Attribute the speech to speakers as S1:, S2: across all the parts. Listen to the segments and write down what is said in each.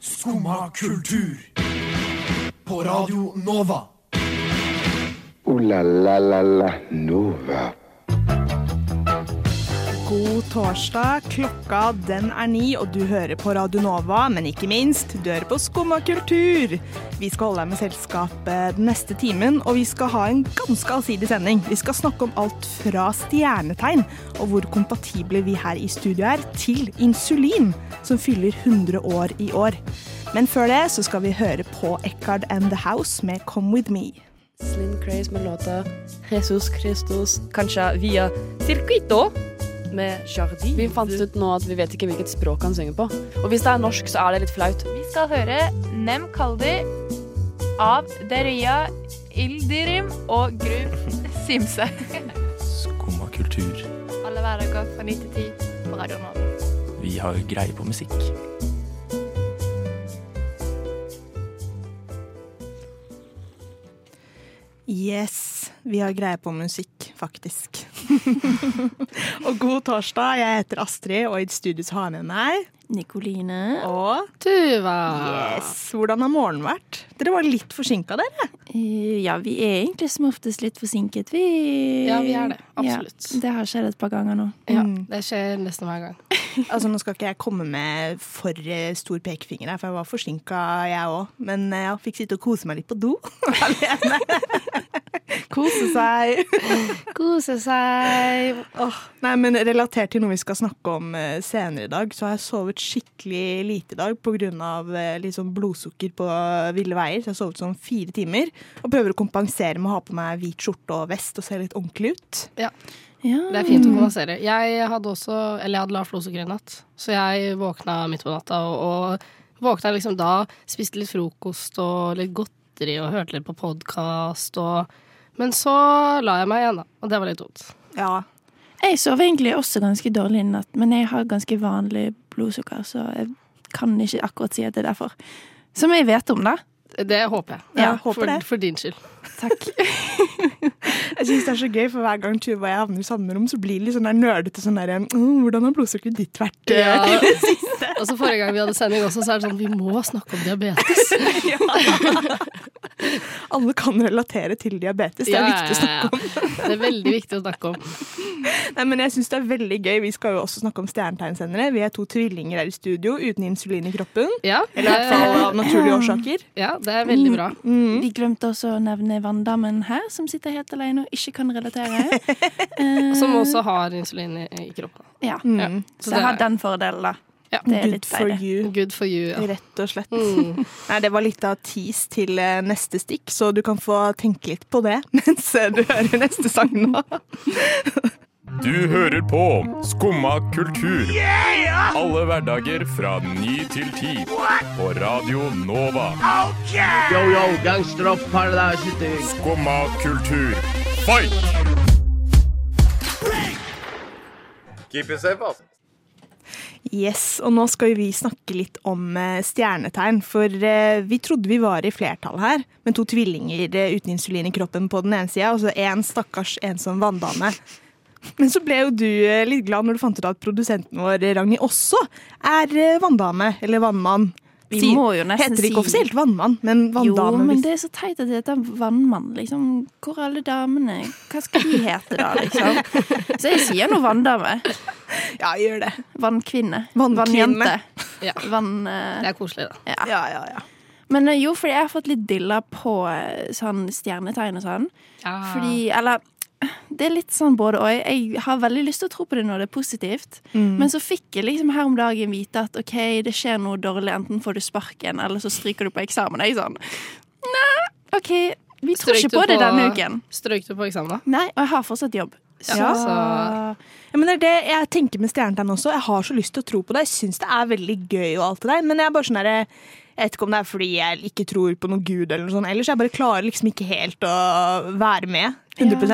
S1: Skumma kultur. På Radio Nova.
S2: Ooh la la la la Nova.
S3: God torsdag. Klokka den er ni, og du hører på Radio Nova, men ikke minst, du hører på Skumma kultur. Vi skal holde deg med selskap eh, den neste timen, og vi skal ha en ganske allsidig sending. Vi skal snakke om alt fra stjernetegn, og hvor kompatible vi her i studio er, til insulin, som fyller 100 år i år. Men før det så skal vi høre på Eckhard and The House med Come With Me.
S4: Slim Craze med låta Jesus Christus, kanskje via Circuito med Jardin. Vi fant ut nå at vi vet ikke hvilket språk han synger på. Og hvis det er norsk, så er det litt flaut.
S5: Vi skal høre Nem Kaldi av Deria Ildirim og Grum Simse.
S6: Skumma kultur.
S5: Alle hverdager fra 9 til 10 på Radio Nova.
S6: Vi har greie på musikk.
S3: Yes, vi har greie på musikk, faktisk. og god torsdag. Jeg heter Astrid, og i studio så har jeg med meg
S7: Nikoline.
S3: Og
S8: Tuva.
S3: yes, hvordan har morgenen vært? Dere var litt forsinka, dere.
S7: Eh, Ja, vi er egentlig som oftest litt forsinket, vi.
S8: Ja, vi er det. Absolutt.
S7: Ja, det har skjedd et par ganger nå.
S8: Ja, det skjer nesten hver gang.
S3: Altså, Nå skal ikke jeg komme med for eh, stor pekefinger her, for jeg var forsinka, jeg òg. Men eh, jeg fikk sitte og kose meg litt på do alene. kose seg.
S8: Kose seg.
S3: Nei, men Relatert til noe vi skal snakke om eh, senere i dag, så har jeg sovet skikkelig lite i dag pga. Liksom blodsukker på eh, ville veier. Så jeg har sovet sånn fire timer. Og prøver å kompensere med å ha på meg hvit skjorte og vest og se litt ordentlig ut.
S7: Ja.
S8: Det er fint
S3: Mm.
S8: å kompensere. Jeg hadde også, eller jeg hadde lavt blodsukker i natt, så jeg våkna midt på natta og, og våkna liksom da, spiste litt frokost og litt godteri og hørte litt på podkast og Men så la jeg meg igjen, da, og det var litt dumt.
S3: Ja,
S7: Jeg sov egentlig også ganske dårlig i natt, men jeg har ganske vanlig blodsukker, så jeg kan ikke akkurat si at det er derfor. Som jeg vet om, da.
S8: Det håper jeg.
S3: Ja, håper
S8: for,
S3: det.
S8: for din skyld.
S7: Takk.
S3: Jeg synes det er så gøy, for hver gang Tuva og jeg havner i samme rom, så blir det litt sånn der nerdete sånn der «Mm, Hvordan har blodsukkeret ditt vært?
S8: Ja. Og så forrige gang vi hadde sending også, så er det sånn vi må snakke om diabetes.
S3: Alle kan relatere til diabetes, det er viktig å snakke om.
S8: om. Det er veldig viktig å snakke om.
S3: Nei, men jeg synes det er veldig gøy. Vi skal jo også snakke om stjernetegn senere. Vi er to tvillinger her i studio uten insulin i kroppen.
S8: Ja,
S3: Eller i hvert fall av naturlige årsaker.
S8: Ja, det er veldig bra.
S5: Mm.
S7: Vi glemte også å nevne Vanndammen her, som sitter helt alene og ikke kan relatere.
S3: Mm.
S7: Eh,
S8: Som også har insulin i, i kroppen.
S7: ja.
S8: Ja.
S7: Så jeg har den fordelen, da.
S8: Ja.
S7: Det er
S3: Good
S7: litt
S3: for
S7: deilig.
S3: you.
S8: Good for you. Ja.
S3: Rett og slett.
S8: Mm.
S3: Nei, det var litt av tease til eh, neste stikk, så du kan få tenke litt på det mens eh, du hører neste sang nå.
S9: Du hører på Skumma kultur. Alle hverdager fra ny til ti. På Radio Nova. Skumma kultur. Fight!
S3: Yes, og nå skal jo vi snakke litt om eh, stjernetegn, for eh, vi trodde vi var i flertall her, med to tvillinger eh, uten insulin i kroppen på den ene sida, og så en stakkars ensom vanndame. Men så ble jo du eh, litt glad når du fant ut at produsenten vår, eh, Ragnhild, også er eh, vanndame, eller vannmann.
S7: Vi
S3: Sier-
S7: må jo nesten
S3: Heter det
S7: si-
S3: ikke offisielt vannmann, men vanndame.
S7: Jo, men
S3: hvis-
S7: det er så teit at det heter vannmann. Liksom. Hvor er alle damene? Hva skal de hete da, liksom? Så jeg sier nå vanndame.
S3: Ja, gjør det.
S7: Vannkvinne.
S3: Vannkvinne.
S7: Vannjente.
S8: Ja.
S7: Vann...
S8: Det
S7: eh,
S8: er koselig, da.
S7: ja.
S3: Ja, ja, ja.
S7: Men eh, jo, fordi jeg har fått litt dilla på eh, sånn stjernetegn og sånn. Fordi, eller det er litt sånn både og. Jeg har veldig lyst til å tro på det når det er positivt. Men så fikk jeg liksom her om dagen vite at OK, det skjer noe dårlig. Enten får du sparken, eller så stryker du på eksamen. Jeg er sånn Nei, OK, vi tror
S8: Strøk
S7: ikke
S8: du
S7: på det denne uken.
S8: Strøk du på eksamen, da?
S7: Nei, og jeg har fortsatt jobb. Så
S8: Ja.
S3: Ja, men det er det jeg tenker med stjernetegn også. Jeg har så lyst til å tro på det. Jeg syns det er veldig gøy og alt det der, men jeg er bare sånn der, jeg vet ikke om det er fordi jeg ikke tror på noen gud eller noe sånt ellers. Jeg bare klarer liksom ikke helt å være med. 100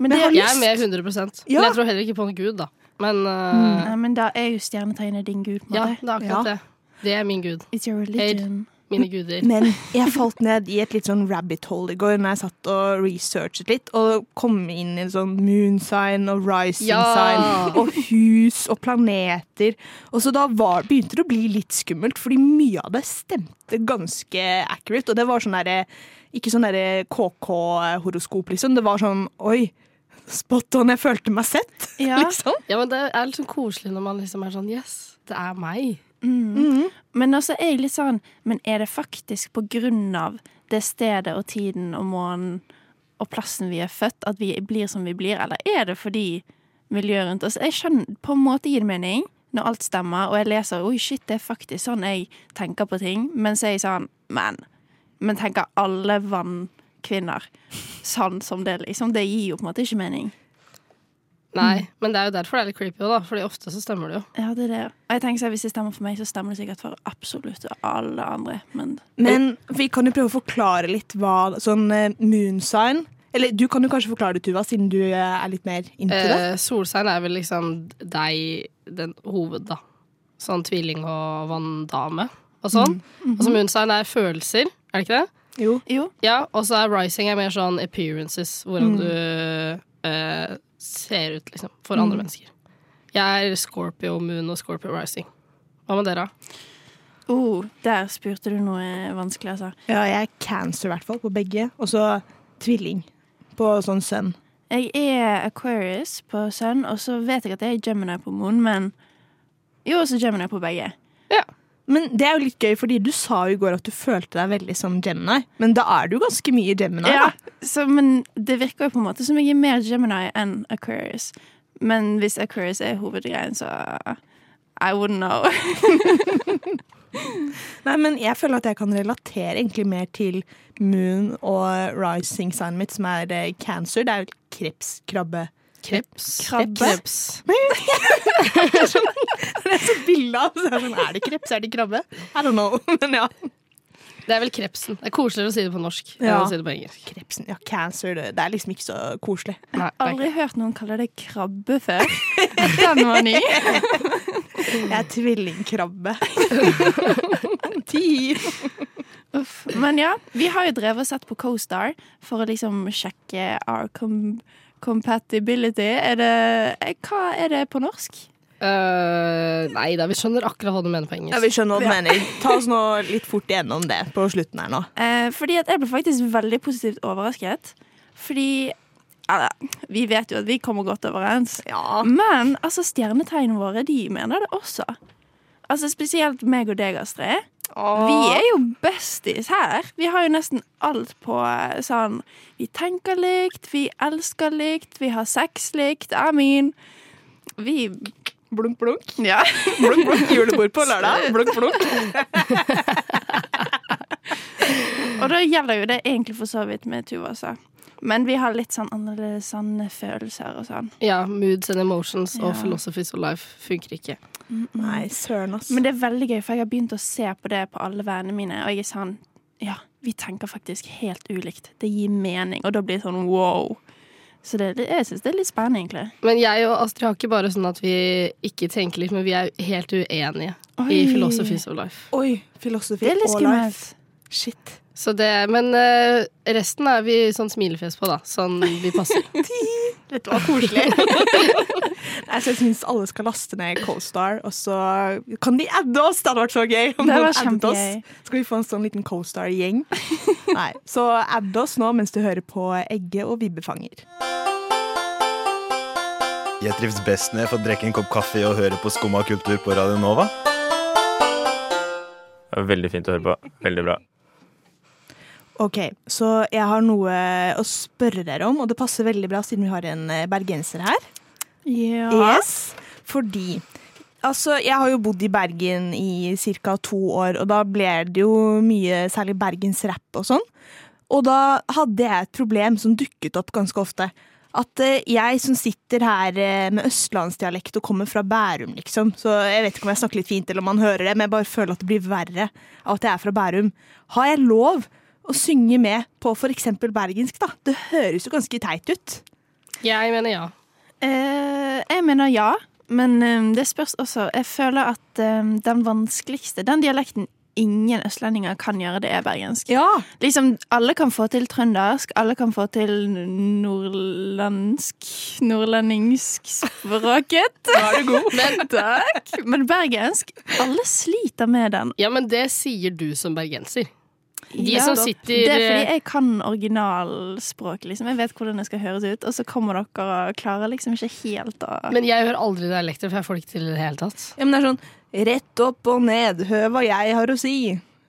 S7: Men det
S3: jeg har
S8: Jeg er med 100
S3: Ja.
S8: Men jeg tror heller ikke på en gud, da. Men øh,
S7: Nei, men da er jo stjernetegnet din gud. på en
S8: ja,
S7: måte.
S8: det er akkurat det. Det er min gud.
S7: It's your religion.
S8: mine guder.
S3: Men jeg falt ned i et litt sånn rabbit hole i går når jeg satt og researchet litt, og kom inn i sånn moonsign og rising
S8: Ja.
S3: sign og hus og planeter. Og så da var, begynte det å bli litt skummelt, fordi mye av det stemte ganske accurate. Og det var sånn derre Ikke sånn derre KK-horoskop, liksom. Det var sånn oi, spot on, jeg følte meg sett,
S7: Ja.
S3: liksom.
S8: Ja, men det er litt sånn koselig når man liksom er sånn Yes, det er meg.
S7: Men også er jeg litt sånn Men er det faktisk på grunn av det stedet og tiden og månen og plassen vi er født, at vi blir som vi blir, eller er det fordi miljøet rundt oss Jeg skjønner på en måte gir det mening når alt stemmer, og jeg leser Oi, shit, det er faktisk sånn jeg tenker på ting, men så er jeg sånn Men. Men tenker alle vannkvinner sånn som det, liksom? Det gir jo på en måte ikke mening.
S8: Nei, men det er jo derfor det er litt creepy òg, da. Fordi ofte så stemmer det jo.
S7: Ja, det er det. Og jeg tenker sånn, Hvis det stemmer for meg, så stemmer det sikkert for absolutt alle andre. Men
S3: Men vi kan jo prøve å forklare litt hva sånn eh, moon sign Eller du kan jo kanskje forklare det, Tuva, siden du eh, er litt mer into det.
S8: Eh, solstein er vel liksom deg, den hoved, da. Sånn tvilling og vanndame og sånn. Og så moonstein er følelser, er det ikke det?
S3: Jo.
S7: jo,
S8: Ja, og så er rising er mer sånn appearances,
S7: Mm.
S8: hvordan du eh, ser ut, liksom, for
S7: Mm.
S8: andre mennesker. Jeg er Scorpio moon og Scorpio rising. Hva med dere? da?
S7: Oh, der spurte du noe vanskelig, altså.
S3: Ja, jeg er cancer i hvert fall på begge. Og så tvilling på sånn sønn.
S7: Jeg er Aquarius på Sun, og så vet jeg at jeg er Gemini på Moon, men jo, også Gemini på begge.
S3: Men det er jo litt gøy, fordi du sa jo i går at du følte deg veldig som Gemini. Men da er du ganske mye Gemini.
S7: Ja,
S3: da.
S7: så, men det virker jo på en måte som jeg er mer Gemini enn Aquarius. Men hvis Aquarius er hovedgreien, så I wouldn't know.
S3: Nei, men jeg føler at jeg kan relatere egentlig mer til Moon og Rising signet mitt, som er eh, cancer. Det er jo kreps, krabbe.
S8: Kreps.
S7: Krabbe?
S8: Kreps.
S3: Så bildet av så er, det sånn, er det kreps, er det krabbe? I don't know, men ja.
S8: Det er vel krepsen. Det er koseligere å si det på norsk
S3: Ja.
S8: enn å si det på engelsk.
S3: Krepsen, ja, cancer, det det er liksom ikke så koselig.
S8: Nei, det er ikke.
S7: Aldri hørt noen kalle det krabbe før. Den var ny.
S3: Jeg er tvillingkrabbe. Ti!
S7: Uff. Men ja, vi har jo drevet og sett på CoStar for å liksom sjekke our com compatibility. Er det, eh, hva er det på norsk?
S8: Øh, nei da, vi skjønner akkurat hva du mener på engelsk.
S3: Ja, vi skjønner hva du mener. Ta oss nå litt fort igjennom det på slutten her nå.
S7: Eh, fordi at jeg ble faktisk veldig positivt overrasket. Fordi eller, Vi vet jo at vi kommer godt overens. Men altså, stjernetegnene våre de mener det også. Altså Spesielt meg og deg, Astrid. Vi er jo besties her. Vi har jo nesten alt på eh, sånn Vi tenker likt, vi elsker likt, vi har sex likt. I mean Vi
S3: Blunk, blunk.
S7: Ja.
S3: Blunk, blunk. Julebord på lørdag. Blunk, blunk.
S7: Og da gjelder jo det egentlig for så vidt med Tuva også. Men vi har litt sånn annerledes sånn følelser og sånn.
S8: Ja, Moods and emotions og
S7: Ja.
S8: philosophies of life funker ikke.
S3: Nei, søren, ass.
S7: Men det er veldig gøy, for jeg har begynt å se på det på alle vennene mine, og jeg er sånn Ja, vi tenker faktisk helt ulikt. Det gir mening, og da blir det sånn wow. Så det, det- jeg syns det er litt spennende, egentlig.
S8: Men jeg og Astrid har ikke bare sånn at vi ikke tenker likt, men vi er helt uenige i
S7: Oi.
S8: philosophies of life.
S3: Oi, filosofi
S7: Det er litt
S3: og life.
S7: skummelt.
S3: Shit.
S8: Så det, men øh, resten er vi sånn smilefjes på, da. Sånn vi passer.
S3: Dette var koselig. Nei, så jeg syns alle skal laste ned CoStar, og så kan de adde oss! Det hadde vært så gøy! om
S7: Det
S3: noen
S7: var
S3: addet oss.
S7: kjempegøy.
S3: Skal vi få en sånn liten CoStar-gjeng? Nei. Så add oss nå mens du hører på Egge og Vibbefanger.
S10: Jeg trives best når jeg får drikke en kopp kaffe og høre på Skumma kultur på Radio Nova.
S6: Det er Veldig fint å høre på. Veldig bra.
S3: Ok, så jeg har noe å spørre dere om, og det passer veldig bra siden vi har en eh, bergenser her.
S7: Ja.
S3: Yes, fordi Altså, jeg har jo bodd i Bergen i ca. to år, og da ble det jo mye særlig bergensrapp og sånn. Og da hadde jeg et problem som dukket opp ganske ofte. At eh, jeg som sitter her eh, med østlandsdialekt og kommer fra Bærum, liksom Så jeg vet ikke om jeg snakker litt fint eller om man hører det, men jeg bare føler at det blir verre av at jeg er fra Bærum. Har jeg lov å synge med på f.eks. bergensk, da? Det høres jo ganske teit ut.
S8: Jeg mener ja.
S7: Eh, jeg mener ja, men eh, det spørs også. Jeg føler at eh, den vanskeligste, den dialekten ingen østlendinger kan gjøre, det er bergensk. Liksom, Alle kan få til trøndersk, alle kan få til nordlandsk Nordlendingsk språket. Da
S8: er du god.
S7: Men, takk. Men bergensk Alle sliter med den.
S8: Ja, men det sier du som bergenser. De
S7: Ja,
S8: som
S7: da.
S8: sitter eh,
S7: Det er fordi jeg kan originalspråk, liksom. Jeg vet hvordan det skal høres ut. Og så kommer dere og klarer liksom ikke helt å
S8: Men jeg hører aldri dialekter, for jeg får det ikke til i det hele tatt.
S3: Ja, men det er sånn rett opp og ned, hør hva jeg har å si.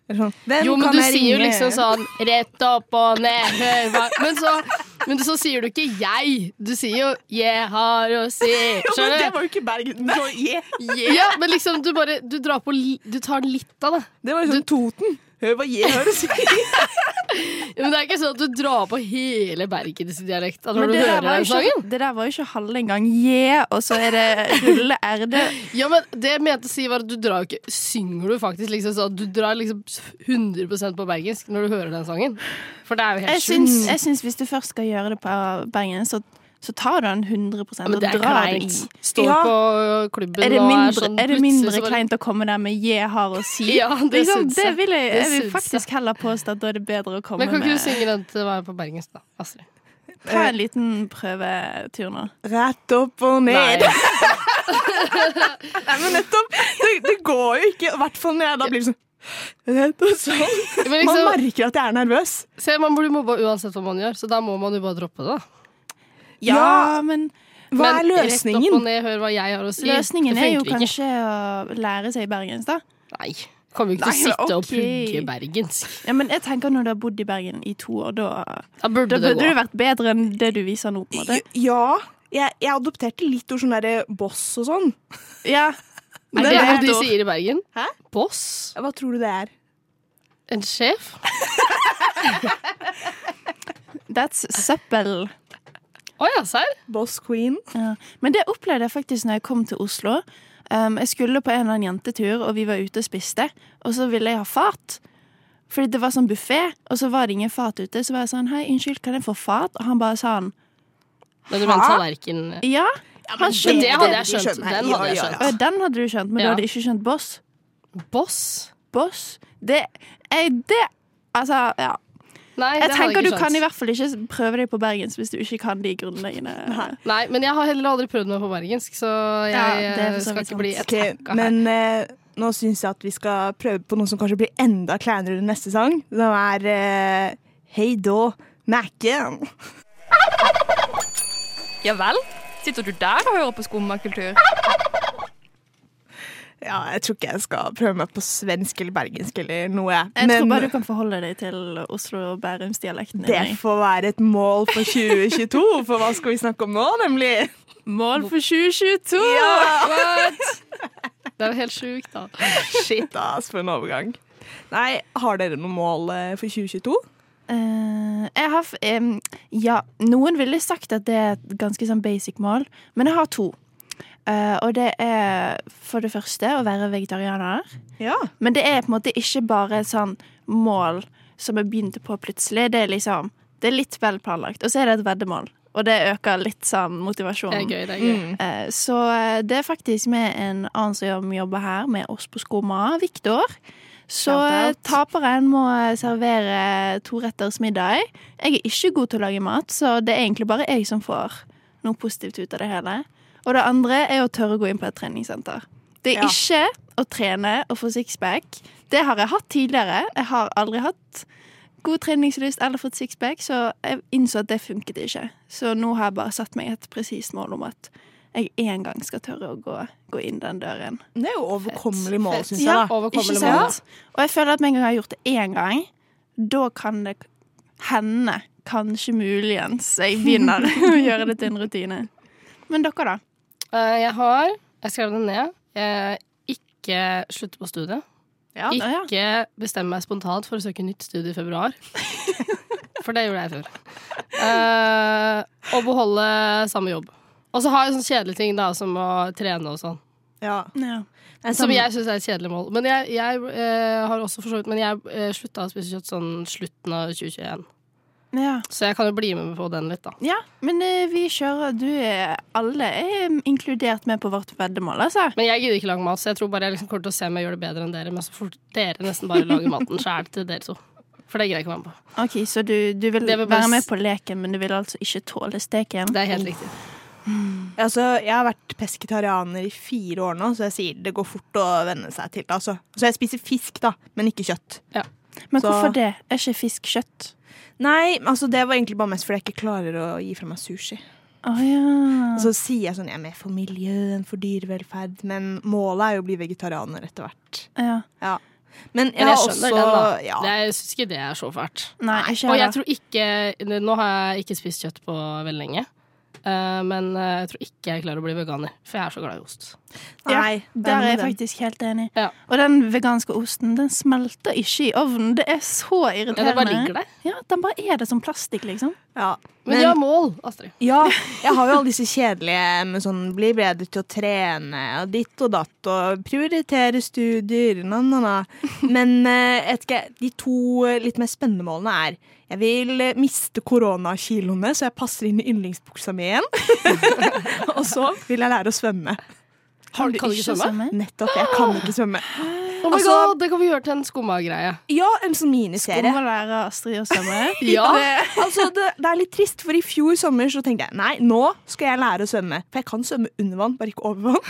S3: Eller sånn, Hvem
S8: jo, men
S3: kan
S8: du
S3: jeg
S8: sier jo
S3: ringe?
S8: liksom sånn rett opp og ned, hør hva Men så, men så sier du ikke 'jeg'. Du sier jo 'jeg har å
S3: Jo,
S8: si'.
S3: men det
S8: Skjønner du?
S3: var jo ikke Bergen. Det var yeah.
S8: Ja, men liksom, du bare Du drar på li, Du tar litt av det.
S3: Det var liksom Toten. Hør hva jeg har å si.
S8: Ja, Men det er ikke sånn at du drar på hele Bergens dialekt da, når
S7: Men
S8: du
S7: det der,
S8: hører
S7: var jo
S8: den sangen.
S7: ikke, det der var jo ikke halve engang. Yeah, og så er det rulle erde.
S8: Ja, men det jeg mente å si var at du drar jo ikke Synger du faktisk liksom sånn Du drar liksom 100 på bergensk når du hører den sangen. For det er jo
S7: Jeg
S8: helt
S7: syns,
S8: sjukt.
S7: jeg syns hvis du først skal gjøre det på eh, Bergen, så, så tar du den 100
S8: Ja,
S7: og
S8: men det er
S7: drar det i.
S8: kleint. Står
S7: Ja.
S8: på klubben
S7: Er det
S8: og
S7: mindre,
S8: er sånn
S7: er det
S8: plutselig
S7: mindre
S8: så bare-
S7: kleint å komme der med 'je har å si'?
S8: Ja, det
S7: liksom,
S8: syns
S7: det
S8: jeg.
S7: vil jeg,
S8: Det
S7: jeg vil
S8: syns
S7: faktisk heller påstå at da er det bedre å komme
S8: Men kan ikke du
S7: med
S8: synge den til meg på bergensk, da? Astrid.
S7: Ta en liten prøvetur nå.
S3: Rett opp og ned.
S8: Nei.
S3: Nei, men nettopp. Det, det går jo ikke. I hvert fall når jeg da blir sånn rett og sånn.
S8: Men
S3: Man
S8: liksom,
S3: merker at jeg er nervøs.
S8: se, man blir mobba uansett hva man gjør, så da må man jo bare droppe det. da.
S7: Ja, men
S3: Hva er
S8: Men Rett opp og
S3: løsningen?
S8: ned, hør hva jeg har å si.
S7: løsningen
S8: Det
S7: er jo
S8: funker ikke.
S7: kanskje å lære seg bergensk, da.
S8: Nei. Kommer jo ikke
S7: Nei,
S8: til å sitte og
S7: ok.
S8: pugge bergensk.
S7: Ja, men jeg tenker når du har bodd i Bergen i to år, da,
S8: Da burde
S7: da
S8: det
S7: burde
S8: gå.
S7: du vært bedre enn det du viser nå, på en måte.
S3: Ja. Jeg, jeg adopterte litt ord sånn derre boss og sånn.
S7: Ja,
S8: Er
S3: Det
S8: det
S3: er
S8: hva de
S3: et ord.
S8: sier i Bergen?
S3: Hæ?
S8: Boss?
S3: Hva tror du det er?
S8: En sjef?
S7: that's søppel.
S8: Å ja, serr?
S3: Boss queen?
S7: Ja. Men det opplevde jeg faktisk når jeg kom til Oslo. Um, jeg skulle på en eller annen jentetur, og vi var ute og spiste. Og så ville jeg ha fat. Fordi det var sånn buffé, og så var det ingen fat ute. Så var jeg sånn Hei, unnskyld, kan jeg få fat? Og han bare sa han
S8: Men du mener tallerken
S7: ja. Han
S8: Men det
S7: skjønte
S8: hadde jeg
S3: de
S8: skjønt.
S3: skjønner.
S8: Den
S3: Ja,
S8: hadde jeg
S3: ja,
S8: skjønt.
S7: Å, Den hadde du skjønt, men
S8: Ja.
S7: du hadde ikke skjønt boss.
S8: Boss?
S7: Boss? Det, jeg, det Altså, ja.
S8: Nei,
S7: Jeg
S8: det hadde
S7: tenker
S8: jeg
S7: du
S8: ikke
S7: kan i
S8: skjønt.
S7: hvert fall ikke prøve deg på bergensk hvis du ikke kan de grunnleggende
S8: Nei, men jeg har heller aldri prøvd meg på bergensk, så jeg
S7: Ja, det er for så
S8: skal
S7: vidt
S8: ikke bli
S7: sant.
S8: et
S3: Ok, men eh, nå syns jeg at vi skal prøve på noe som kanskje blir enda kleinere enn neste sang. Som er eh, Hei då, Mac-en.
S5: Ja vel? Sitter du der og hører på skummakultur?
S3: Ja, jeg tror ikke jeg skal prøve meg på svensk eller bergensk eller noe. jeg.
S7: Jeg tror
S3: Men
S7: bare du kan forholde deg til Oslo- og Bærumsdialekten.
S3: det får være et mål for 2022, for hva skal vi snakke om nå, nemlig?
S7: Mål for 2022!
S8: Det er jo helt sjukt, da.
S3: Shit, ass, for en overgang. Nei, har dere noen mål eh, for 2022?
S7: Eh, jeg har f- em, Ja, noen ville sagt at det er et ganske sånn basic mål, men jeg har to. Eh, og det er for det første å være vegetarianer.
S3: Ja.
S7: Men det er på en måte ikke bare et sånn mål som jeg begynte på plutselig. Det er liksom Det er litt vel planlagt. Og så er det et veddemål, og det øker litt sånn
S8: Det er
S7: motivasjonen.
S8: gøy, det er gøy.
S7: Eh, Så eh, det er faktisk med en annen som jobber- jobber her, med oss på Skoma, Viktor. Så eh, taperen må eh, servere toretters middag. Jeg er ikke god til å lage mat, så det er egentlig bare jeg som får noe positivt ut av det hele. Og det andre er å tørre å gå inn på et treningssenter. Det er
S3: Ja.
S7: ikke å trene og få sixpack. Det har jeg hatt tidligere. Jeg har aldri hatt god treningslyst eller fått sixpack, så jeg innså at det funket ikke. Så nå har jeg bare satt meg et presist mål om at jeg en gang skal tørre å gå, gå inn den døren.
S3: Det er jo overkommelig mål, syns jeg.
S7: Ja,
S3: da.
S8: Overkommelig
S7: ikke
S8: mål.
S7: sant? Og jeg føler at med en gang jeg har gjort det én gang, da kan det hende, kanskje muligens, jeg begynner å gjøre det til en rutine. Men dere, da?
S8: Eh, Jeg har Jeg skrev det ned. Jeg ikke slutte på studiet.
S7: Ja, ja.
S8: Ikke bestemme meg spontant for å søke nytt studie i februar. For det gjorde jeg før. Eh, og beholde samme jobb. Og så har jeg sånne kjedelige ting da som å trene og sånn.
S3: Ja.
S7: Ja.
S8: Som jeg syns er et kjedelig mål. Men jeg, eh, jeg eh, har også for så vidt Men jeg uh, slutta å spise kjøtt sånn slutten av 2021. Så jeg kan jo bli med på den litt, da.
S7: Ja, men eh, vi kjører Du er alle er inkludert med på vårt veddemål, altså.
S8: Men jeg gidder ikke lage mat, så jeg tror bare jeg liksom kommer til å se om jeg gjør det bedre enn dere. Men så får dere nesten bare lage maten sjæl til dere to. For det greier jeg ikke å være med på.
S7: OK, så du, du vil
S8: Det vil bare
S7: være med
S8: s-
S7: på leken, men du vil altså ikke tåle steken?
S8: Det er
S3: Mm.
S8: helt riktig.
S3: Altså, jeg har vært pesketarianer i fire år nå, så jeg sier det går fort å venne seg til det. Altså. Så jeg spiser fisk, da, men ikke kjøtt.
S7: Men
S3: Så-
S7: hvorfor det? Er ikke fisk kjøtt?
S3: Nei, altså det var egentlig bare mest fordi jeg ikke klarer å gi fra meg sushi.
S7: Å ja.
S3: Og så sier jeg sånn jeg er med for miljøet enn for dyrevelferd, men målet er jo å bli vegetarianer etter hvert.
S7: ja.
S3: Ja. Men jeg,
S8: Men jeg
S3: har
S8: skjønner
S3: også
S8: den, da.
S3: Ja.
S8: Det, jeg syns ikke det er så fælt.
S7: Nei, ikke
S8: Og jeg
S7: heller.
S8: tror ikke Nå har jeg ikke spist kjøtt på veldig lenge. eh, Men eh, jeg tror ikke jeg klarer å bli veganer, for jeg er så glad i ost.
S3: Nei,
S7: ja, der er jeg
S3: den-
S7: faktisk helt enig.
S8: Ja.
S7: Og den veganske osten den smelter ikke i ovnen. Det er så irriterende.
S8: Ja, det bare ligger der.
S7: Ja, den bare er det som plastikk, liksom.
S3: ja. Men
S8: Men, du har mål, Astrid.
S3: ja, jeg har jo alle disse kjedelige med sånn bli bedre til å trene og ditt og datt og prioritere studier na, na, na. Men eh, jeg vet ikke, de to eh, litt mer spennende målene er jeg vil eh, miste koronakiloene, så jeg passer inn i yndlingsbuksa mi igjen. og så vil jeg lære å svømme.
S8: Har du ikke svømme?
S3: Nettopp. Jeg kan ikke svømme.
S8: Oh my
S3: Altså-
S8: god, det kan vi gjøre til en skumma-greie.
S3: Ja, en sånn miniserie.
S7: Om å lære Astrid å svømme.
S8: Ja.
S3: altså, det, det er litt trist, for i fjor sommer så tenkte jeg Nei, nå skal jeg lære å svømme. For jeg kan svømme under vann, bare ikke over vann.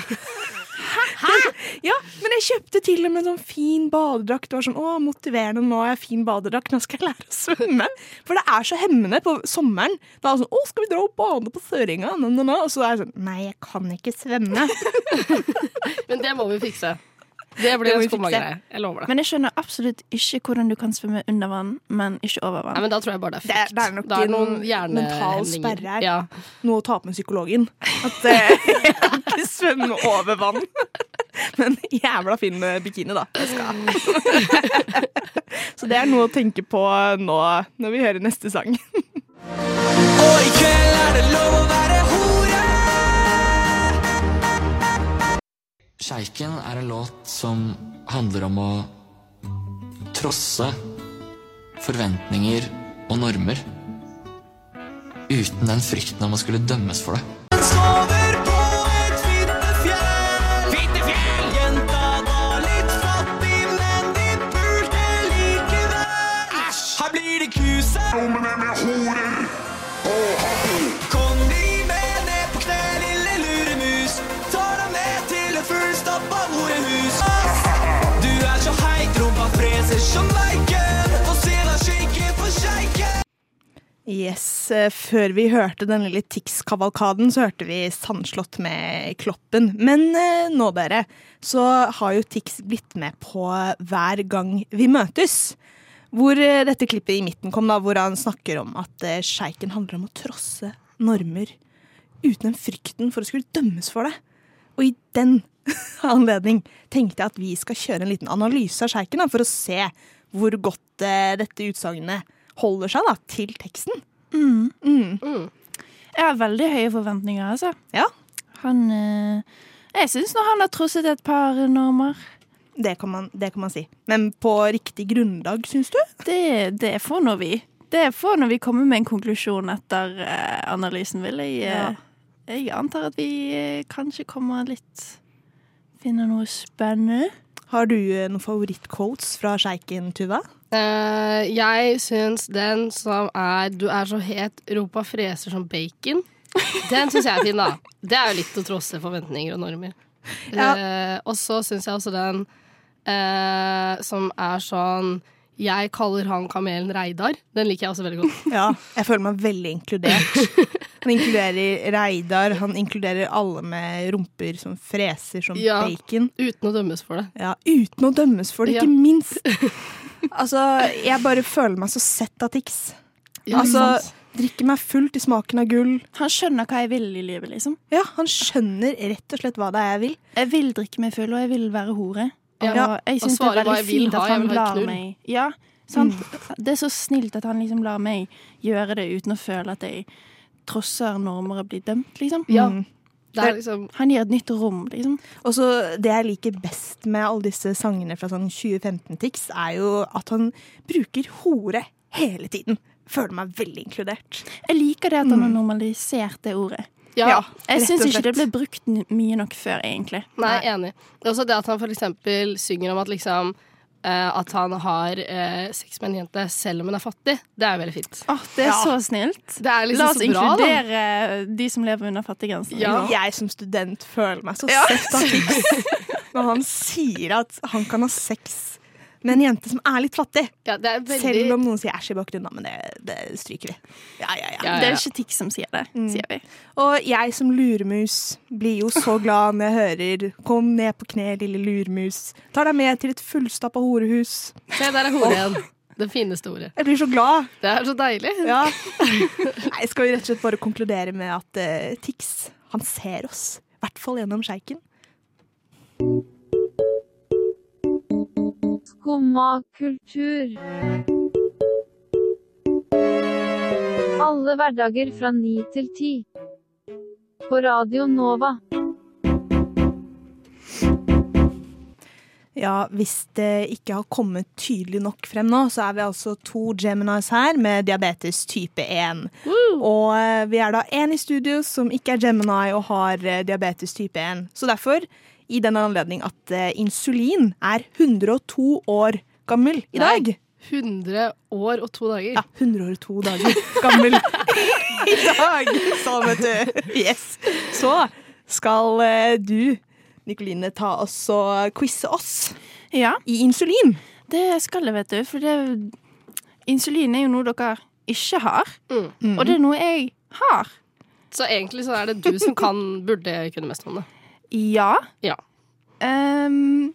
S3: ja, Men jeg kjøpte til og med sånn fin badedrakt. Det var sånn, å, motiverende, nå har jeg fin badedrakt, nå skal jeg lære å svømme. For det er så hemmende på sommeren. Da er det sånn, å, skal vi dra og bade på Søringa? Na, na, na. Og så er jeg sånn, nei, jeg kan ikke svømme.
S8: Men det må vi fikse. Det
S3: Det må
S8: blir en
S3: vi fikse.
S8: skumma-greie. Jeg lover det.
S7: Men jeg skjønner absolutt ikke hvordan du kan svømme under vann, men ikke over
S8: Nei,
S7: vann.
S8: men Da tror jeg bare det er
S3: Det er-
S8: frykt.
S3: det er nok
S8: Da
S3: en
S8: noen
S3: mental
S8: hjernehemninger.
S3: sperre her.
S8: Ja.
S3: Noe å ta opp med psykologen. At eh, jeg kan ikke svømme over vann. Men jævla fin eh, bikini, da. Jeg skal. Så det er noe å tenke på nå når vi hører neste sang.
S1: Og i kveld er det lov å være hore.
S11: Sjeiken er en låt som handler om å trosse forventninger og normer. Uten den frykten om å skulle dømmes for det.
S1: Den sover på et fittefjell. Fittefjell! Jenta var litt fattig, men de pulte likevel. Æsj! Her blir det kuse. Lommene med horer og hatter. Kom de med ned på kne, lille luremus. Tar ham med til et fullstappa horehus. Ass! Du er så heit, rumpa freser som leiken. Få se deg shake for sjeiken.
S3: Yes, eh, Før vi hørte den lille Tix-kavalkaden, så hørte vi Sandslott med Kloppen. Men eh, nå, dere, så har jo Tix blitt med på Hver gang vi møtes. Hvor eh, dette klippet i midten kom, da, hvor han snakker om at eh, sjeiken handler om å trosse normer uten den frykten for å skulle dømmes for det. Og i den anledning tenkte jeg at vi skal kjøre en liten analyse av sjeiken da, for å se hvor godt eh, dette utsagnet holder seg da, til teksten.
S7: Jeg har veldig høye forventninger, altså.
S3: Ja,
S7: Han eh, Jeg syns nå han har trosset et par normer.
S3: det kan man, det kan man si. Men på riktig grunnlag, syns du?
S7: Det, det får nå vi. Det får når vi kommer med en konklusjon etter eh, analysen, vil jeg eh, Jeg antar at vi eh, kanskje kommer litt Finner noe spennende.
S3: Har du eh, noen favorittquotes fra sjeiken, Tuva?
S8: Eh, jeg syns den som er 'du er så het, rumpa freser som bacon', den syns jeg er fin, da. Det er jo litt å trosse forventninger og normer.
S3: Ja.
S8: Eh, og så syns jeg også den eh, som er sånn 'jeg kaller han kamelen Reidar'. Den liker jeg også veldig godt.
S3: Ja, jeg føler meg veldig inkludert. Han inkluderer Reidar, han inkluderer alle med rumper som freser som
S8: Ja.
S3: bacon.
S8: Uten å dømmes for det.
S3: Ja, Uten å dømmes for det,
S8: Ja.
S3: ikke minst. Altså, jeg bare føler meg så sett av Tix.
S8: Ja,
S3: altså,
S8: ikke sant?
S3: drikker meg full til smaken av gull.
S7: Han skjønner hva jeg vil i livet, liksom.
S3: Ja, Han skjønner rett og slett hva det er jeg vil.
S7: Jeg vil drikke meg full, og jeg vil være hore. Og
S8: Ja.
S7: jeg
S8: Og
S7: syns det
S8: svare
S7: er veldig
S8: hva jeg vil
S7: fint
S8: ha,
S7: at
S8: jeg
S7: han
S8: vil ha et
S7: lar
S8: knull.
S7: meg ja, sant? Det er så snilt at han liksom lar meg gjøre det uten å føle at jeg trosser normer og blir dømt, liksom.
S8: Ja. Det er liksom
S7: Han gir et nytt rom, liksom.
S3: Og så Det jeg liker best med alle disse sangene fra sånn 2015-Tix, er jo at han bruker hore hele tiden. føler meg veldig inkludert.
S7: Jeg liker det at han har normalisert det ordet.
S3: Ja, Ja, rett
S7: jeg syns
S3: og
S7: ikke det
S3: slett.
S7: ble brukt n- mye nok før, egentlig.
S8: Nei, enig. Det er også det at han for eksempel synger om at liksom eh, At han har eh, sex med en jente selv om hun er fattig. Det er veldig fint.
S7: Det er så snilt.
S8: Det er liksom
S7: La oss
S8: så bra, da.
S7: inkludere eh, de som lever under fattiggrensen.
S3: Jeg som student føler meg så sett av Tix når han sier at han kan ha sex med en jente som er litt fattig.
S8: veldig-
S3: Selv om noen sier æsj i bakgrunnen, da, men det, det stryker vi. Ja, ja, ja.
S7: Det er jo ikke Tix som sier det,
S8: Mm.
S7: sier vi.
S3: Og jeg som luremus blir jo så glad når jeg hører 'Kom ned på kne, lille luremus'. Tar deg med til et fullstappa horehus.
S8: Se, der er hodet igjen. Det fineste ordet.
S3: Jeg blir så glad.
S8: Det er så deilig.
S3: Ja. Nei, jeg skal jo rett og slett bare konkludere med at eh, Tix, han ser oss. I hvert fall gjennom sjeiken.
S12: Skumma kultur. Alle hverdager fra ni til ti. På Radio Nova.
S3: Ja, hvis det ikke har kommet tydelig nok frem nå, så er vi altså to Geminis her med diabetes type 1. Og eh, vi er da én i studio som ikke er Gemini og har eh, diabetes type 1. Så derfor, i den anledning at eh, insulin er 102 år gammel i dag.
S8: 100 år og to dager.
S3: Ja, 100 år og to dager gammel i dag. Så, vet du. Yes. Så skal eh, du, Nikoline, ta oss og quize oss i insulin.
S7: Det skal jeg, vet du. For det, insulin er jo noe dere ikke har.
S8: Mm.
S7: Og det er noe jeg har.
S8: Så egentlig så er det du som kan, burde kunne mest om det.
S7: Ja.
S8: Ja.
S7: Ehm,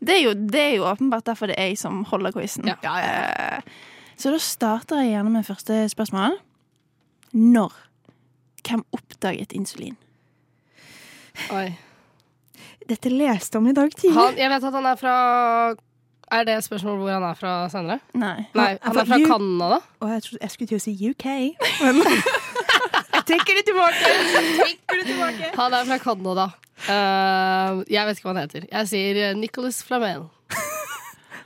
S7: det, er jo, det er jo åpenbart derfor det er jeg som holder quizen. Eh, så da starter jeg gjerne med første spørsmål. Når? Hvem oppdaget insulin?
S8: Oi.
S3: Dette leste jeg om i dag tidlig.
S8: Han, jeg vet at han er fra Er det et spørsmål hvor han er fra senere?
S7: Nei.
S8: Nei
S3: Han er
S8: han er
S3: fra
S8: fra
S3: U-
S8: Canada.
S3: Å, jeg, trodde, jeg skulle til å si UK, men jeg trekker det tilbake. Jeg trekker det tilbake.
S8: Han er fra Canada. Eh, jeg vet ikke hva han heter. Jeg sier eh, Nicolas Flamel.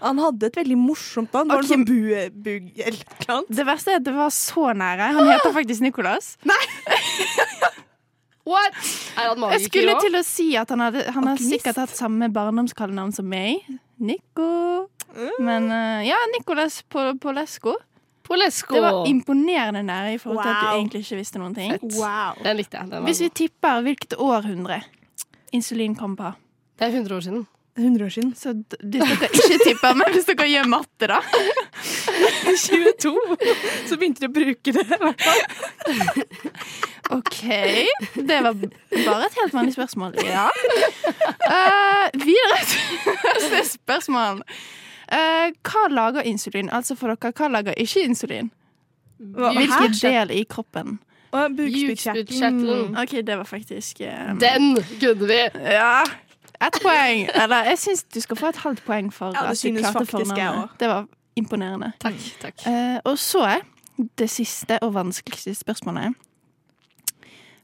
S3: Han hadde et veldig morsomt navn. Var det sånn bue, bug, eller noe annet?
S7: Det verste er at det var så nære. Han
S8: Ah!
S7: heter faktisk Nicolas.
S8: What? Er han
S7: Jeg
S8: magiker
S7: skulle
S8: også?
S7: til å si at han, hadde, han har
S8: Alkymist?
S7: sikkert hatt samme barndomskallenavn som meg. Nico. Men eh, ja, Nicolas Pol- Polesco.
S8: Polesco.
S7: Det var imponerende nære i forhold til at
S8: Wow.
S7: du egentlig ikke visste noen ting.
S8: Fett. Den likte jeg. Den var
S7: Hvis vi
S8: god.
S7: tipper hvilket århundre insulin kom på
S8: Det er 100 år siden.
S3: 100 år siden.
S7: Så d- hvis dere ikke tipper, men hvis dere gjør matte, da.
S3: 22. Så begynte de å bruke det. i hvert fall.
S7: OK. Det var bare et helt vanlig spørsmål. Ja. Eh, videre til neste spørsmål. Eh, hva lager insulin? Altså for dere, hva lager ikke insulin?
S8: Hva-
S7: Hvilken
S8: Hæ?
S7: del i kroppen? Mm,
S8: Bukspyttkjertelen.
S7: OK, det var faktisk eh,
S8: Den kunne vi!
S7: Ja. Ett poeng. Eller jeg syns du skal få et halvt poeng for
S8: Ja, det
S7: at du
S8: synes
S7: klarte
S8: faktisk jeg
S7: fornavnet.
S8: også.
S7: Det var imponerende.
S8: Takk, takk.
S7: Eh, og så det siste og vanskeligste spørsmålet.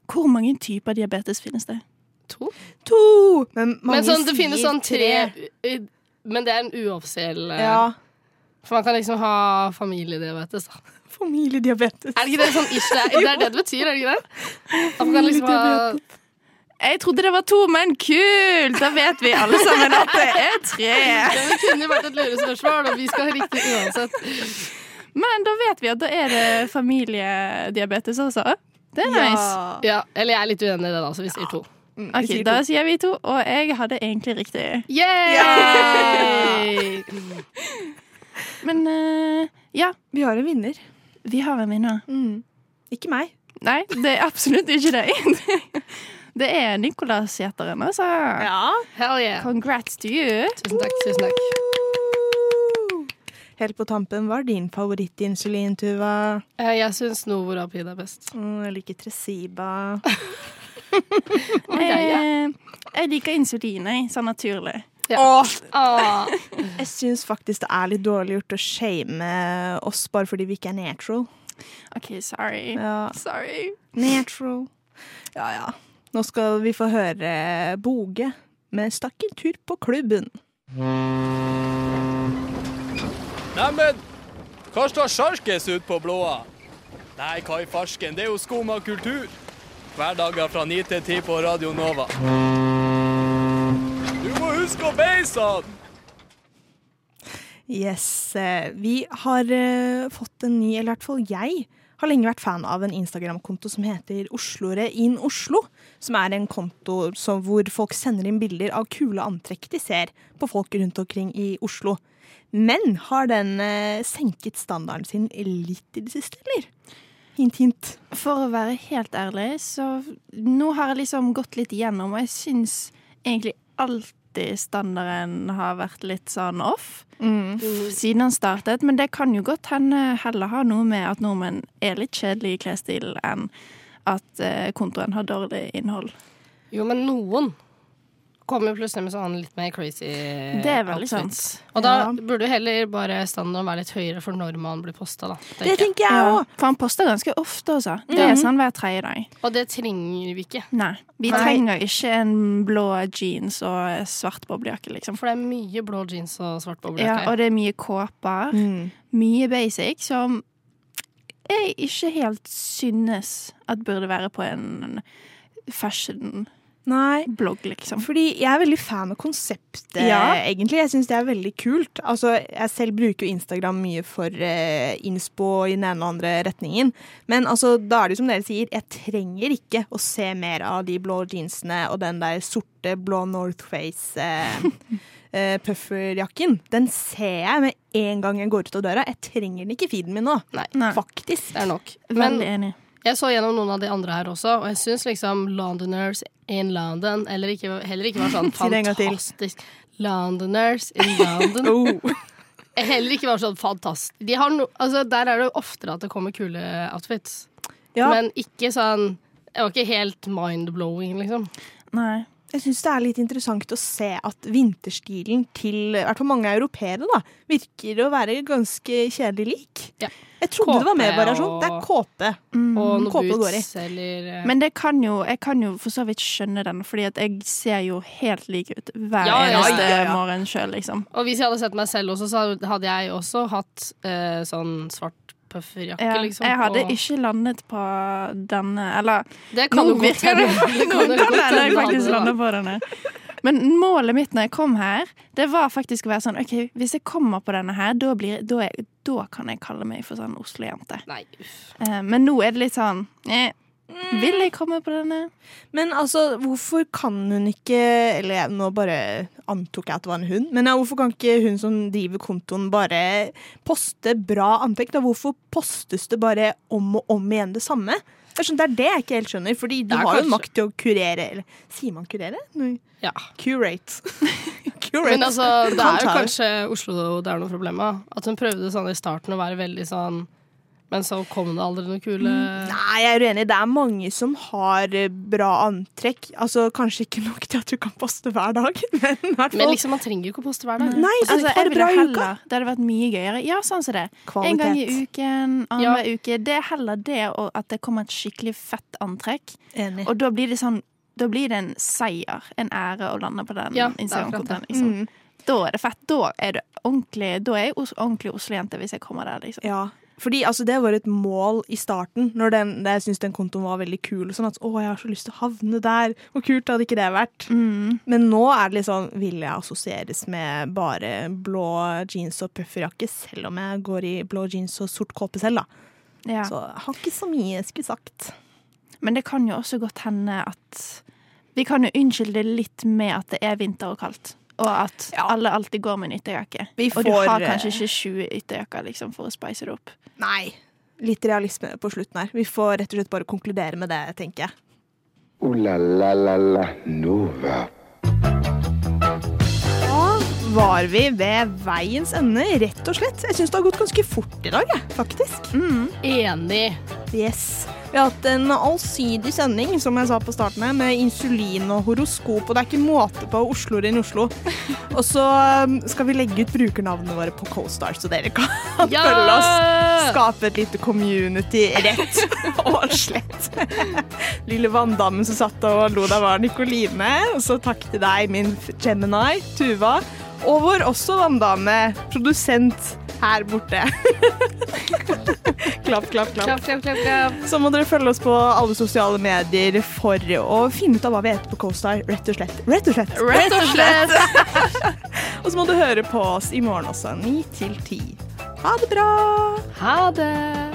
S7: Hvor mange typer diabetes finnes det?
S8: To.
S3: To! Men,
S8: Men sånn, det finnes sånn tre
S7: tre.
S8: i- Men det er en uoffisiell eh,
S3: Ja.
S8: For man kan liksom ha familiediabetes, da.
S3: Familiediabetes.
S8: Er det ikke det sånn ish det er? Det er det det betyr, er det ikke det? At man kan liksom ha
S7: Jeg trodde det var to, men kult! Da vet vi alle sammen at det er tre.
S8: Ja, Det kunne jo vært et lurespørsmål, og vi skal ha riktig uansett.
S7: Men da vet vi at da er det familiediabetes også. Det er nice.
S8: Ja, eller jeg er litt uenig i det, da, så vi sier to.
S7: Ok, Da sier vi to, og jeg hadde egentlig riktig.
S8: Yay!
S7: Men eh, ja.
S3: Vi har en vinner.
S7: Vi har en vinner.
S3: Ikke meg.
S7: Nei, det er absolutt ikke deg. Det er Nicolas-gjeteren, altså.
S3: Ja.
S8: Hell yeah.
S7: Congrats to you.
S8: Tusen takk. tusen takk.
S3: Helt på tampen, hva er din favorittinsulin, Tuva?
S8: Eh, Jeg syns Novorapid er best.
S3: Å, Jeg liker Tresiba.
S7: Jeg, Eh, jeg liker insulin, jeg. Sånn naturlig.
S3: Åh.
S8: Ah.
S3: Jeg syns faktisk det er litt dårlig gjort å shame oss bare fordi vi ikke er natural.
S7: OK, sorry.
S3: Ja.
S7: Sorry.
S3: Natural. Ja, ja. Nå skal vi få høre Boge med 'Stakk en tur på klubben'.
S9: Neimen,
S13: Hva står sjarkes ut på blåa? Nei, hva i farsken, det er jo skum av kultur. Hverdager fra 9 til 10 på Radio Nova. Du må huske å beise han!
S3: Yes. eh, Vi har eh, fått en ny, eller i hvert fall jeg, har lenge vært fan av en Instagram-konto som heter Oslore in Oslo. Som er en konto som, hvor folk sender inn bilder av kule antrekk de ser på folk rundt omkring i Oslo. Men har den eh, senket standarden sin litt i det siste, eller? Hint, hint.
S7: For å være helt ærlig, så nå har jeg liksom gått litt igjennom, og jeg syns egentlig alltid standarden har vært litt sånn off.
S3: Mm.
S7: f- Siden han startet, men det kan jo godt hende heller har noe med at nordmenn er litt kjedelige i klesstil enn at eh, kontoen har dårlig innhold.
S8: Jo, men noen kommer plutselig med sånn litt mer crazy
S7: Det er veldig sant.
S8: Eh, Og da
S7: Ja.
S8: burde jo heller bare standarden være litt høyere for når man blir posta, da.
S7: Ja, For han poster ganske ofte, altså. Det er
S8: Mhm.
S7: sånn hver tredje dag.
S8: Og det trenger vi ikke.
S7: Nei. Vi
S8: Nei.
S7: trenger ikke en blå jeans og svart boblejakke, liksom.
S8: For det er mye blå jeans og svart boblejakke.
S7: Ja, og det er mye kåper.
S8: Mm.
S7: Mye basic som jeg ikke helt synes at burde være på en fashion-blogg, liksom.
S3: Fordi jeg er veldig fan av konseptet,
S7: Ja.
S3: egentlig. Jeg syns det er veldig kult. Altså, jeg selv bruker jo Instagram mye for eh, innspo i den ene og andre retningen. Men altså, da er det jo som dere sier, jeg trenger ikke å se mer av de blå jeansene og den der sorte blå Northface eh, eh, pufferjakken. Den ser jeg med en gang jeg går ut av døra. Jeg trenger den ikke i feeden min nå. Faktisk.
S8: Det er nok.
S7: Veldig
S8: Men
S7: enig.
S8: jeg så gjennom noen av de andre her også, og jeg syns liksom Londoners in London eller ikke, heller ikke var sånn
S3: Si det en gang til.
S8: fantastisk. Londoners in London.
S7: Oh.
S8: Heller ikke var sånn fantastisk. De har no, altså, der er det jo oftere at det kommer kule outfits.
S3: Ja.
S8: Men ikke sånn Det var ikke helt mind-blowing, liksom.
S7: Nei.
S3: Jeg syns det er litt interessant å se at vinterstilen til i hvert fall mange europeere da, virker å være ganske kjedelig lik. Jeg trodde det var mer
S7: Kåpe
S3: variasjon. Det er kåpe.
S7: Og noe
S3: Kåpe går i.
S7: boots Mm.
S8: eh,
S7: Men det kan jo, jeg kan jo for så vidt skjønne den, fordi at jeg ser jo helt lik ut hver
S8: Ja, ja,
S7: eneste
S8: ja, ja.
S7: morgen sjøl, liksom.
S8: Og hvis jeg hadde sett meg selv også, så hadde jeg også hatt eh, sånn svart pufferjakke,
S7: Ja,
S8: liksom.
S7: jeg hadde
S8: og-
S7: ikke landet på denne Eller
S8: Det kan
S7: nå
S8: jo godt
S7: virker det
S8: hende. Det kan jo
S7: Nå
S8: godt
S7: kan jeg
S8: hende du hadde
S7: faktisk
S8: det, da.
S7: lande på denne. Men målet mitt når jeg kom her, det var faktisk å være sånn OK, hvis jeg kommer på denne her, da, blir, da, er- da kan jeg kalle meg for sånn Oslo-jente. Eh, Men nå er det litt sånn eh, Vil jeg komme på denne?
S3: Men altså, hvorfor kan hun ikke Eller jeg, nå bare antok jeg at det var en hund. Men ja, hvorfor kan ikke hun som driver kontoen, bare poste bra antrekk? da? Hvorfor postes det bare om og om igjen det samme? Det er sånn- det er det jeg ikke helt skjønner, fordi du
S8: Det er
S3: har jo
S8: kanskje-
S3: makt til å kurere. Eller sier man kurere? Nei.
S8: Ja.
S3: Curate. Curate.
S8: Men altså, det er jo
S3: Kanskje.
S8: kanskje Oslo det er noe problem med. At hun prøvde sånn i starten å være veldig sånn Men så kom det aldri noe kule
S3: Nei, jeg er uenig. Det er mange som har eh, bra antrekk. Altså, Kanskje ikke nok til at du kan poste hver dag, men i hvert fall
S8: Men liksom, man trenger jo ikke å poste hver dag.
S3: Nei, altså, er
S7: Altså,
S3: det
S7: jeg ville
S3: bra i uka?
S7: heller- Det hadde vært mye gøyere. Ja, sånn som det. En
S3: Kvalitet.
S7: gang i uken, annenhver uke. Det er heller det og at det kommer et skikkelig fett antrekk.
S3: Enig.
S7: Og da blir det sånn Da blir det en seier, en ære, å lande på den
S8: Ja, det er akkurat
S7: Instagram-kontoen.
S8: det.
S7: Liksom.
S8: Mm.
S7: Da er det fett. Da er det ordentlig Da er jeg os- ordentlig Oslo-jente hvis jeg kommer der, liksom.
S3: Ja. Fordi altså, Det var et mål i starten, når den, da jeg syntes den kontoen var veldig kul. og Sånn at, å, jeg har så lyst til å havne der. Hvor kult hadde ikke det vært? Men nå er det litt sånn Vil jeg assosieres med bare blå jeans og pufferjakke, selv om jeg går i blå jeans og sort kåpe selv, da.
S7: Ja.
S3: Så jeg har ikke så mye jeg skulle sagt.
S7: Men det kan jo også godt hende at Vi kan jo unnskylde det litt med at det er vinter og kaldt. Og at alle alltid går med en ytterjakke.
S3: Vi
S7: og du har
S3: får, eh,
S7: kanskje ikke 20 ytterjakker liksom, for å spice det opp.
S3: Nei. Litt realisme på slutten her. Vi får rett og slett bare konkludere med det, tenker jeg.
S2: Ooh la la la la Nova.
S3: Da var vi ved veiens ende, rett og slett. Jeg syns det har gått ganske fort i dag, jeg, faktisk.
S8: Enig.
S3: Yes. Vi har hatt en allsidig sending, som jeg sa på starten her, med insulin og horoskop, og det er ikke måte på Oslo inn Oslo. Og så um, skal vi legge ut brukernavnene våre på CoStar, så dere kan
S8: Ja!
S3: følge oss. Skape et lite community rett og slett. Lille vanndammen som satt og lo deg var Nikoline. Og så takk til deg, min Gemini, Tuva. Og vår også vanndame, produsent her borte. klapp, klapp, klapp.
S14: Klapp, klapp, klapp, klapp.
S3: Så må dere følge oss på alle sosiale medier for å finne ut av hva vi heter på CoStar, rett og slett. Rett og slett.
S14: Rett og slett.
S3: og så må du høre på oss i morgen også, 9 til 10. Ha det bra!
S14: Ha det!